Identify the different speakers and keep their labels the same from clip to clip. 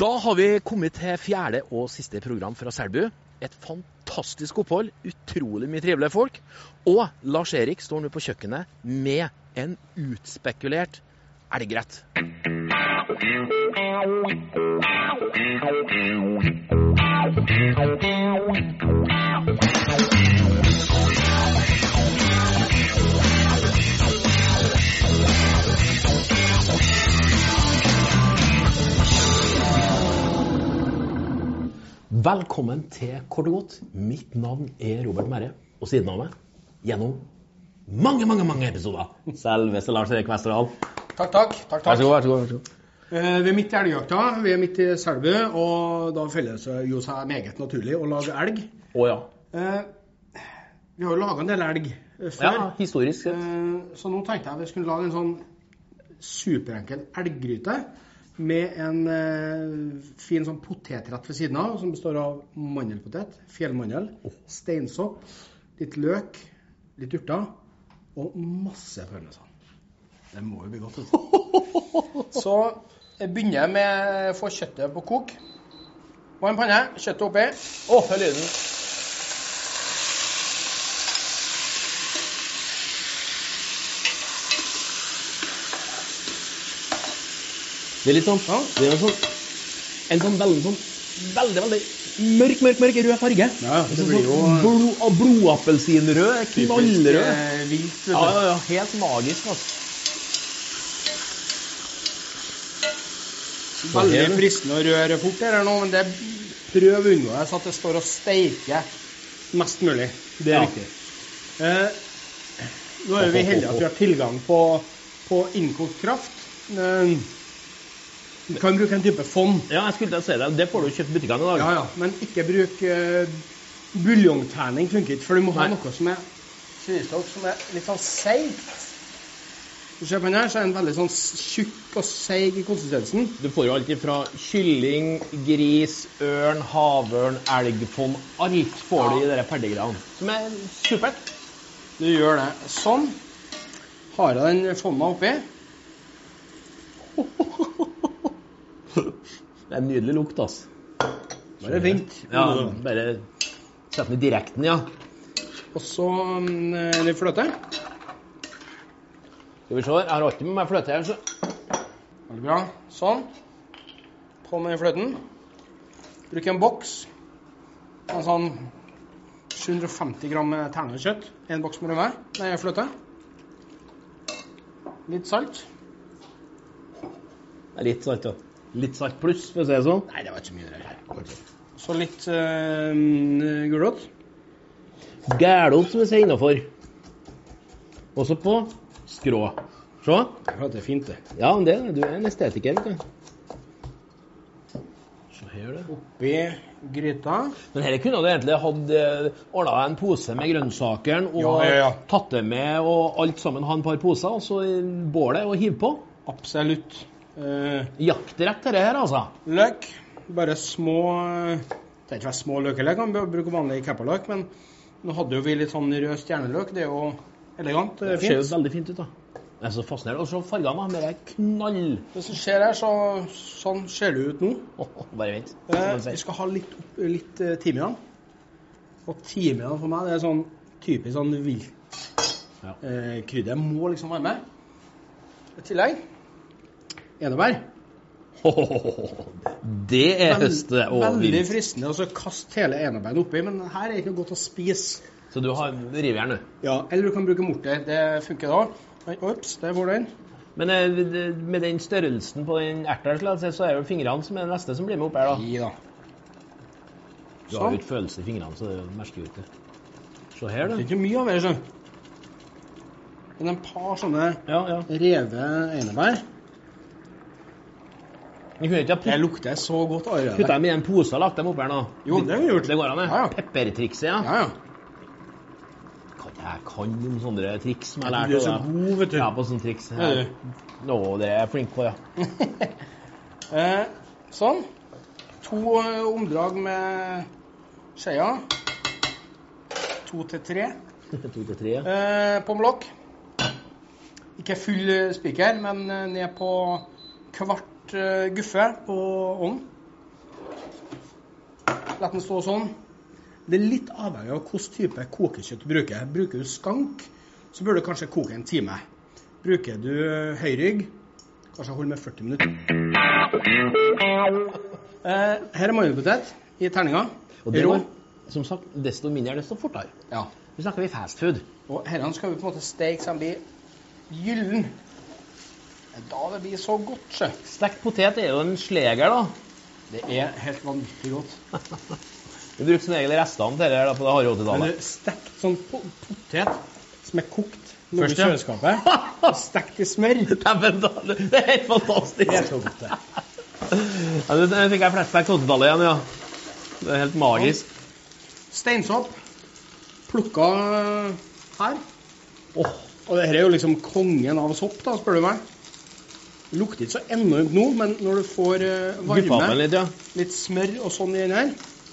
Speaker 1: Da har vi kommet til fjerde og siste program fra Selbu. Et fantastisk opphold, utrolig mye trivelige folk. Og Lars-Erik står nå på kjøkkenet med en utspekulert elgrett. Velkommen til Kort og godt. Mitt navn er Robert Merre, og siden av meg, gjennom mange, mange mange episoder, selveste Lars-Erik Westerdal.
Speaker 2: Takk, takk.
Speaker 1: Vær
Speaker 2: takk, takk.
Speaker 1: så god, vær så god. vær så god.
Speaker 2: Eh, vi er midt i elgjakta. Vi er midt i Selbu, og da føler det jo seg meget naturlig å lage elg.
Speaker 1: Å ja.
Speaker 2: Eh, vi har jo laga en del elg eh,
Speaker 1: ja.
Speaker 2: før,
Speaker 1: Historisk sett.
Speaker 2: eh, så nå tenkte jeg vi skulle lage en sånn superenkel elggryte med en eh, fin sånn potetrett ved siden av, som består av mandelpotet, fjellmandel, steinsopp, litt løk, litt urter og masse følelser. Det må jo bli godt. vet du. Så jeg begynner med å få kjøttet på kok. Varm panne, kjøttet oppi.
Speaker 1: Å, hør lyden. Det er litt sånn Det er en sånn, en sånn veldig sånn Veldig, veldig mørk, mørk, mørk rød farge.
Speaker 2: Ja, det
Speaker 1: Sånn
Speaker 2: blir jo-
Speaker 1: sånn blod, og blodappelsinrød. Knallrød.
Speaker 2: Eh, Vilt,
Speaker 1: Ja,
Speaker 2: vet du.
Speaker 1: ja, ja. Helt magisk, altså.
Speaker 2: Veldig fristende å røre fort her nå, men det prøv å unngå det, så at det står og steiker mest mulig. Det
Speaker 1: Ja.
Speaker 2: er riktig. Eh, nå er vi heldige at vi har tilgang på, på innkokt kraft. Eh, vi kan bruke en type fond.
Speaker 1: Ja, jeg skulle til å si det. Det får du kjøpt i butikkene i dag.
Speaker 2: Ja, ja, men ikke bruk uh, buljongterning funker ikke, for du må ha
Speaker 1: Nei.
Speaker 2: noe som er synes dere, som er litt sånn seigt. Du ser på den her, så er den veldig sånn s- tjukk og seig i konsistensen.
Speaker 1: Du får jo alt fra kylling, gris, ørn, havørn, elgfond Alt får du i de ferdiggreiene. Som er supert.
Speaker 2: Du gjør det sånn. Har jeg den fonna oppi?
Speaker 1: Det er en nydelig lukt, ass.
Speaker 2: Bare vent.
Speaker 1: Ja, bare sett den i direkten, ja.
Speaker 2: Og så mm, litt fløte.
Speaker 1: Skal vi se, her. jeg har alltid med meg fløte her, så
Speaker 2: Veldig bra. Sånn. På med fløten. Bruk en boks. En sånn 750 gram eh, ternekjøtt. En boks med rømme. Nei, fløte. Litt salt.
Speaker 1: Det er litt salt, da. Litt salt pluss, for å si det sånn.
Speaker 2: Nei, det var ikke så mye. det Så litt uh, gulrot.
Speaker 1: Gælot, som vi sier innafor. Også på skrå. Se.
Speaker 2: Det er fint, det.
Speaker 1: Ja, men det, du er en estetiker, vet du. Se her, du.
Speaker 2: Oppi gryta.
Speaker 1: Men dette kunne du egentlig hatt ordna en pose med grønnsakene og
Speaker 2: Ja, ja, ja.
Speaker 1: tatt det med og alt sammen ha en par poser, og så i bålet og hiv på.
Speaker 2: Absolutt. Eh,
Speaker 1: Jaktrett dette her, altså.
Speaker 2: Løk. Bare små eh, Det er ikke være små løk heller, jeg kan br- bruke vanlig kepperløk. Men nå hadde jo vi litt sånn rød stjerneløk. Det er jo elegant. Det er
Speaker 1: ser jo
Speaker 2: fint.
Speaker 1: veldig fint ut, da. Det er så fascinerende. Og så fargene, da. Det er knall...
Speaker 2: Det som skjer her, så sånn ser det ut nå.
Speaker 1: bare vent.
Speaker 2: Eh, vi skal ha litt, opp- litt eh, timian. Og timian for meg det er sånn typisk sånn vilt
Speaker 1: Ja.
Speaker 2: eh, krydder. Jeg må liksom være med. I tillegg enebær.
Speaker 1: Det er
Speaker 2: Vel-
Speaker 1: høstet og
Speaker 2: veldig
Speaker 1: vilt.
Speaker 2: fristende å så kaste hele enebeinet oppi, men her er det ikke noe godt å spise.
Speaker 1: Så du har rivjern nå.
Speaker 2: Ja, eller du kan bruke morter. Det funker da. Oi, Ops, der går den.
Speaker 1: Men eh, det- med den størrelsen på den erten, så er det jo fingrene som er det neste som blir med opp her, da.
Speaker 2: I da.
Speaker 1: Du har jo
Speaker 2: Sånn.
Speaker 1: ikke følelse i fingrene, så det er jo merker jo ikke. Se her,
Speaker 2: Det er
Speaker 1: du.
Speaker 2: ikke mye av det, skjønner du. Men en par sånne
Speaker 1: Ja, ja.
Speaker 2: reve enebær
Speaker 1: Vi kunne ikke ha
Speaker 2: Det
Speaker 1: putt-
Speaker 2: lukter så godt
Speaker 1: puttet
Speaker 2: allerede.
Speaker 1: dem i en pose og lagt dem oppi her nå.
Speaker 2: Jo, det har vi gjort.
Speaker 1: Det går an, det.
Speaker 2: Ja, ja.
Speaker 1: Peppertrikset, ja.
Speaker 2: Ja, ja.
Speaker 1: Hva Jeg kan om sånne triks som jeg
Speaker 2: Du
Speaker 1: har
Speaker 2: er
Speaker 1: lært
Speaker 2: så
Speaker 1: av deg.
Speaker 2: god, vet du.
Speaker 1: Ja, på sånne triks.
Speaker 2: Ja, du.
Speaker 1: Nå, det er jeg flink på, ja.
Speaker 2: Eh, sånn. To eh, omdrag med skjea. To til tre.
Speaker 1: to til tre. ja.
Speaker 2: Eh, på blokk. Ikke full eh, spiker, men eh, ned på kvart eh, guffe på ånd. La den stå sånn. Det er litt avhengig av hvilken type kokekjøtt du bruker. Bruker du skank, så bør du kanskje koke en time. Bruker du høyrygg, kanskje hold med 40 minutter. Eh, her er mandelpotet i terninga.
Speaker 1: Og det
Speaker 2: Rå.
Speaker 1: var, som sagt, desto mindre, desto fortere.
Speaker 2: Ja.
Speaker 1: Nå snakker vi fast food.
Speaker 2: Og herrene skal vi på en måte steke så den blir gyllen. Da det blir så godt, sjø.
Speaker 1: Stekt potet er jo en sleger, da.
Speaker 2: Det er helt vanvittig godt.
Speaker 1: Vi brukte som regel restene til dette her da, på det harde
Speaker 2: Men
Speaker 1: 80-tallet.
Speaker 2: det er stekt sånn po- potet som er kokt noe i
Speaker 1: Først, ja.
Speaker 2: kjøleskapet. og Stekt i smør.
Speaker 1: Dæven da, Det er helt fantastisk.
Speaker 2: Det er så godt, det.
Speaker 1: Ja, nå fikk jeg flashback til 80-tallet igjen, ja. Det er helt magisk.
Speaker 2: Steinsopp. Plukka her.
Speaker 1: Åh,
Speaker 2: Og det her er jo liksom kongen av sopp, da, spør du meg. Det lukter ikke så enormt nå, men når du får eh,
Speaker 1: Guffa meg
Speaker 2: varme,
Speaker 1: litt, ja.
Speaker 2: litt smør og sånn i den her,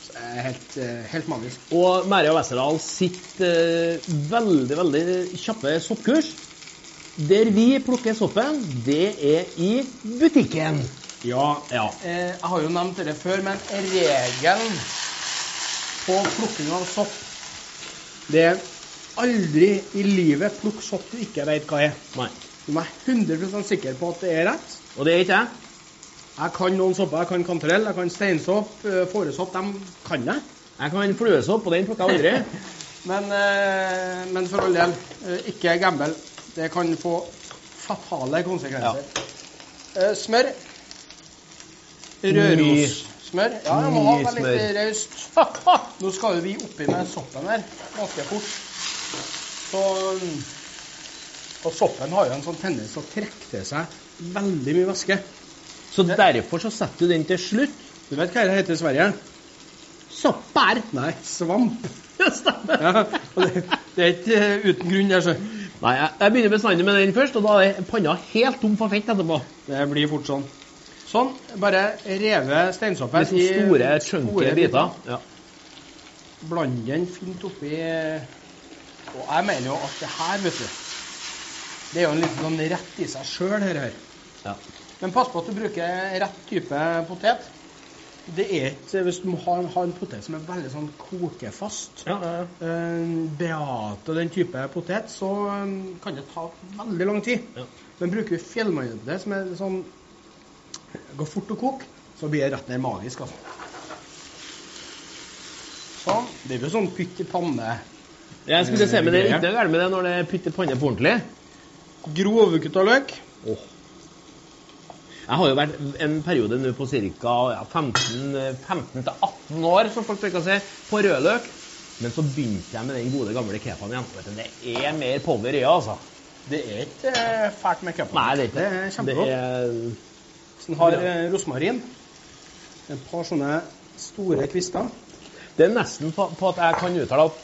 Speaker 2: så er det helt, eh, helt magisk.
Speaker 1: Og Merja Westerdal sitt eh, veldig, veldig kjappe soppkurs. Der vi plukker soppen, det er i butikken.
Speaker 2: Ja,
Speaker 1: Ja.
Speaker 2: eh, jeg har jo nevnt dette før, men regelen på plukking av sopp, det er aldri i livet plukk sopp du ikke vet hva er.
Speaker 1: Nei.
Speaker 2: Du må være 100 sikker på at det er rett.
Speaker 1: Og det er ikke jeg.
Speaker 2: Jeg kan noen sopper. Jeg kan kantarell, jeg kan steinsopp, eh, fåresopp. Dem kan jeg.
Speaker 1: Jeg kan fluesopp, og den plukker jeg aldri.
Speaker 2: Men, eh, men for all del, eh, ikke gamble. Det kan få fatale konsekvenser. Eh, smør. Rørossmør. Ja, jeg må ha
Speaker 1: Mye
Speaker 2: det litt
Speaker 1: smør.
Speaker 2: raust. Nå skal jo vi oppi med soppen her ganske fort. Så mm, Og soppen har jo en sånn tendens til å trekke til seg veldig mye væske.
Speaker 1: Så derfor så setter du den til slutt.
Speaker 2: Du vet hva det heter i Sverige?
Speaker 1: Sopper!
Speaker 2: Nei, svamp.
Speaker 1: Det stemmer.
Speaker 2: Ja, og det, det er ikke eh, uten grunn, det. så.
Speaker 1: Nei, jeg, jeg begynner bestandig med den først, og da er panna helt tom for fett etterpå.
Speaker 2: Det blir fort sånn. Sånn. Bare reve
Speaker 1: Med
Speaker 2: steinsoppen
Speaker 1: så store,
Speaker 2: store
Speaker 1: chunky biter. Ja.
Speaker 2: Bland den fint oppi Og jeg mener jo at det her, vet du Det er jo en liten sånn rett i seg sjøl, her, her.
Speaker 1: Ja.
Speaker 2: Men pass på at du bruker rett type potet. Det er ikke Hvis du har en, har en potet som er veldig sånn kokefast,
Speaker 1: Ja, ja, ja.
Speaker 2: eh, beate den type potet, så eh, kan det ta veldig lang tid.
Speaker 1: Ja.
Speaker 2: Men bruker du fjellmandel som er sånn Går fort å koke, så blir det rett ned magisk, altså. Sånn. Det blir sånn pytt i panne.
Speaker 1: Jeg skulle se, men det er ikke noe galt med det når det pytter panne på ordentlig.
Speaker 2: Grov overkutta løk.
Speaker 1: Jeg har jo vært en periode nå på ca. eh, 15-18 år, som folk bruker å si, på rødløk. Men så begynte jeg med den gode gamle kepaen igjen. Vet du, det er mer power i det, altså.
Speaker 2: Det er ikke eh, fælt med cupen.
Speaker 1: Nei, det er ikke
Speaker 2: Det er kjempegodt.
Speaker 1: Det er-
Speaker 2: Den har eh, rosmarin. Et par sånne store kvister.
Speaker 1: Det er nesten på, på at jeg kan uttale at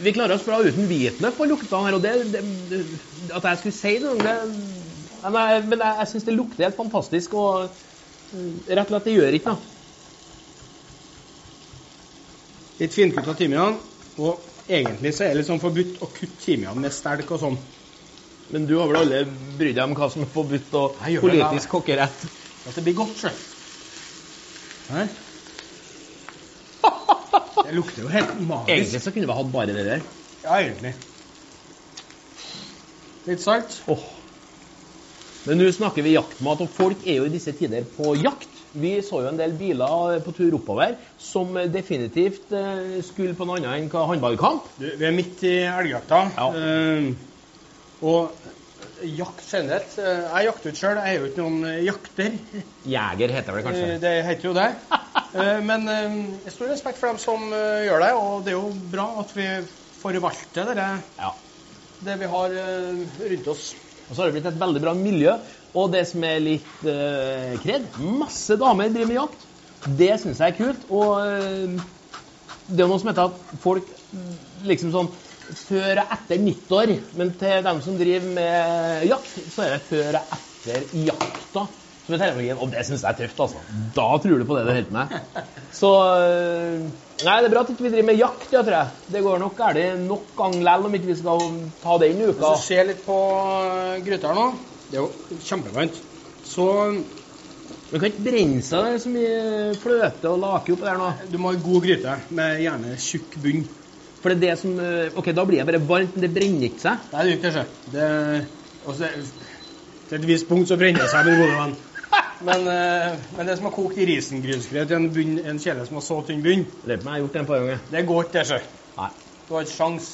Speaker 1: vi klarer oss bra uten hvitløk på luktene her, og det, det, det At jeg skulle si det, det ja, nei, Men jeg, jeg syns det lukter helt fantastisk, og eh, rett og slett, det gjør ikke noe.
Speaker 2: Litt finkutta timian. Og egentlig så er det litt sånn forbudt å kutte timian med stelk og sånn.
Speaker 1: Men du har vel alle brydd deg om hva som er forbudt og
Speaker 2: Jeg gjør vel det,
Speaker 1: politisk kokkerett?
Speaker 2: At det blir godt, sjø. Her. Det lukter jo helt magisk.
Speaker 1: Egentlig så kunne vi hatt bare det der.
Speaker 2: Ja, egentlig. Litt salt.
Speaker 1: Åh. Men nå snakker vi jaktmat, og folk er jo i disse tider på jakt. Vi så jo en del biler på tur oppover som definitivt eh, skulle på noe annet enn hva- håndballkamp.
Speaker 2: Du, vi er midt i elgjakta.
Speaker 1: Ja.
Speaker 2: Eh, og jakt generelt eh, Jeg jakter ut sjøl, jeg er jo ikke noen eh, jakter.
Speaker 1: Jeger heter det kanskje.
Speaker 2: Eh, Det heter jo det. Eh, Men eh, stor respekt for dem som eh, gjør det, og det er jo bra at vi forvalter det,
Speaker 1: Ja.
Speaker 2: det vi har eh, rundt oss.
Speaker 1: Og så har det blitt et veldig bra miljø. Og det som er litt eh, kred, masse damer driver med jakt. Det syns jeg er kult. Og eh, det er noe som heter at folk mm, liksom sånn før og etter nyttår Men til dem som driver med jakt, så er det før og etter jakta. Som er terminologien, og det syns jeg er tøft, altså. Da tror du på det du holder på med. Så eh, Nei, det er bra at ikke vi ikke driver med jakt, ja, tror jeg. Det går nok galt nok gang lell om ikke vi skal ta den
Speaker 2: Hvis
Speaker 1: uka.
Speaker 2: du ser litt på eh, gryta her nå, det er jo kjempevarmt, så
Speaker 1: Du kan ikke brenne seg der så mye fløte og lake oppå der nå.
Speaker 2: eh, Du må ha en god gryte med gjerne tjukk bunn.
Speaker 1: For det er det som eh, OK, da blir det bare varmt, men det brenner ikke seg.
Speaker 2: Nei, det gjør ikke det. det og så- til et visst punkt så brenner det seg, min gode venn. Men, eh, men det som har kokt i risengrynsgrøt i en, bunn, en kjele som har så tynn bunn,
Speaker 1: Lurer på om jeg har gjort det en par ganger.
Speaker 2: det går ikke, det, sjø.
Speaker 1: Nei.
Speaker 2: Du har ikke sjans.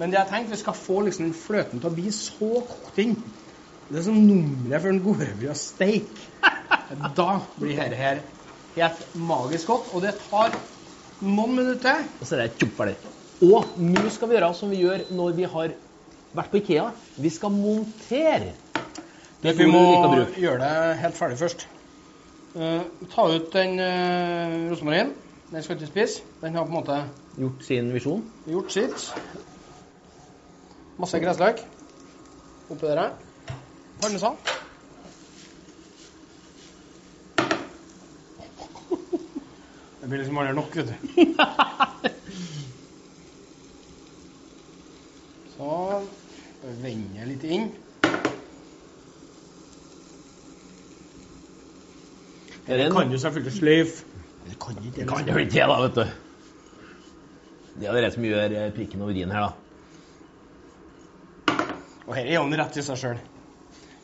Speaker 2: Men det jeg tenkte, vi skal få liksom den fløten til å bli så kokt inn. Det er som nummeret før den går over i å steike. Da blir dette her helt magisk godt. Og det tar noen minutter.
Speaker 1: Og så er det tjopp ferdig. Og nå skal vi gjøre som vi gjør når vi har vært på Ikea. Vi skal montere. Det er
Speaker 2: Vi
Speaker 1: ordet
Speaker 2: må
Speaker 1: vi liker å bruke.
Speaker 2: gjøre det helt ferdig først. Eh, ta ut den uh, rosmarin. Den skal ikke spise. Den har på en måte
Speaker 1: Gjort sin visjon.
Speaker 2: gjort sitt. Masse gressløk oppi der. her. Parmesan. Det blir liksom aldri nok, vet du. Sånn. Vende litt inn.
Speaker 1: Det er en-
Speaker 2: du selvfølgelig sløyfe. Det kan ikke sånn.
Speaker 1: Det kan jo ikke det, da, vet du. Det er dere som gjør eh, prikken over i-en her, da.
Speaker 2: Og her er jo den rett i seg sjøl.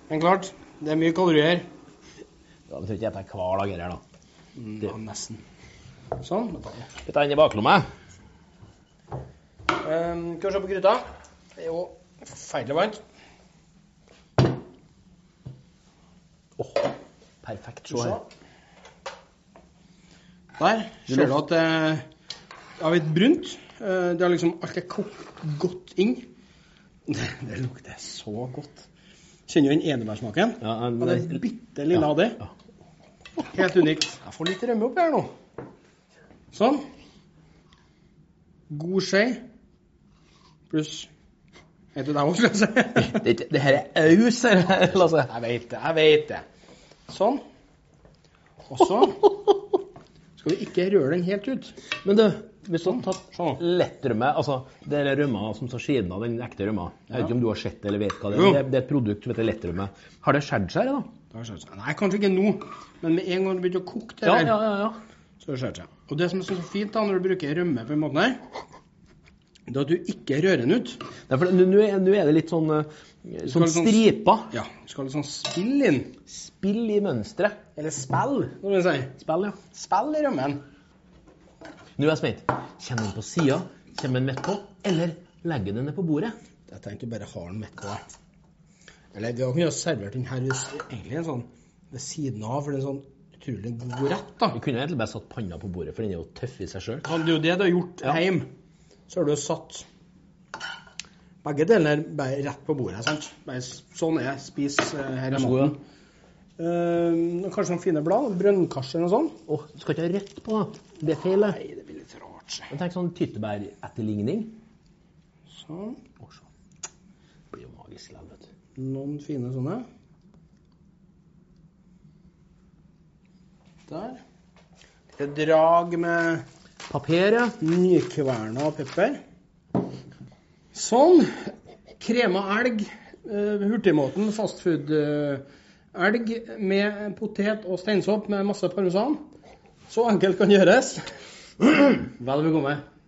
Speaker 2: Men klart, det er mye kalorier.
Speaker 1: Ja, men tror ikke jeg tar hver dag her, da.
Speaker 2: Ja, nesten. Sånn. da tar vi.
Speaker 1: Putter den i baklomma.
Speaker 2: Ehm, Skal vi se på gryta. Det er jo forferdelig varmt.
Speaker 1: Åh, perfekt. Se her.
Speaker 2: Der ser du at eh, det har blitt brunt. Eh, Det har liksom alt er kokt godt inn. Det, det lukter så godt. Kjenner du den enebærsmaken?
Speaker 1: Ja,
Speaker 2: Og det
Speaker 1: men-
Speaker 2: bitte lille av det.
Speaker 1: Ja.
Speaker 2: Helt unikt. Jeg får litt rømme oppi her nå. Sånn. God skje. Pluss Er det deg òg, skulle jeg si?
Speaker 1: Det, det her er aus, her, Lasse.
Speaker 2: Jeg veit det. Jeg veit det. Sånn. Og så skal vi ikke røre den helt ut.
Speaker 1: Men du, hvis du hadde
Speaker 2: Sånn.
Speaker 1: tatt lettrømme Altså, det er rømma som står siden av den ekte rømma. Jeg vet ikke om du har sett det eller vet hva det er.
Speaker 2: Jo.
Speaker 1: men Det, det er et produkt som heter lettrømme. Har det skjedd seg, da?
Speaker 2: Da har det skjørt seg. Nei, kanskje ikke nå, men med en gang du begynner å koke det der,
Speaker 1: ja, ja.
Speaker 2: så har det skjørt seg. Og det som er så fint da, når du bruker rømme på en måte her, det er at du ikke rører den ut.
Speaker 1: Nei, for nå- Nå er, nå er det litt sånn, eh,
Speaker 2: Skal
Speaker 1: sånn
Speaker 2: det sånn-
Speaker 1: striper.
Speaker 2: Ja, du skal liksom spille inn.
Speaker 1: Spill i mønsteret.
Speaker 2: Eller spill, må du si.
Speaker 1: Spill, ja.
Speaker 2: Spill i rømmen.
Speaker 1: Nå er jeg spent. Kommer den på sida? Kommer den midt på? Eller legger den ned på bordet?
Speaker 2: Jeg tenkte du bare har den midt på deg. Eller vi kunne jo servert den her hvis- egentlig en sånn ved siden av, for det er en sånn utrolig god rett, da.
Speaker 1: Vi kunne egentlig bare satt panna på bordet, for den er jo tøff i seg sjøl.
Speaker 2: Kan du det du har gjort
Speaker 1: Ja.
Speaker 2: hjemme, så har du satt begge deler bare rett på bordet, sant? Bare s- sånn er spis eh, her er maten. Eh, og kanskje noen fine blad, brønnkarse eller noe sånt.
Speaker 1: Åh, du skal ikke ha rødt på, da. Det er feil. det.
Speaker 2: Nei, det blir litt rart. se.
Speaker 1: Men Tenk sånn tyttebæretterligning.
Speaker 2: Sånn.
Speaker 1: Åh, se. Det blir jo magisk likevel, vet du.
Speaker 2: Noen fine sånne. Der. Et drag med
Speaker 1: Papir, ja.
Speaker 2: nykverna pepper. Sånn. Krema elg. eh, Hurtigmåten fastfood-elg med potet og steinsopp med masse parmesan. Så enkelt kan gjøres. Vel bekomme.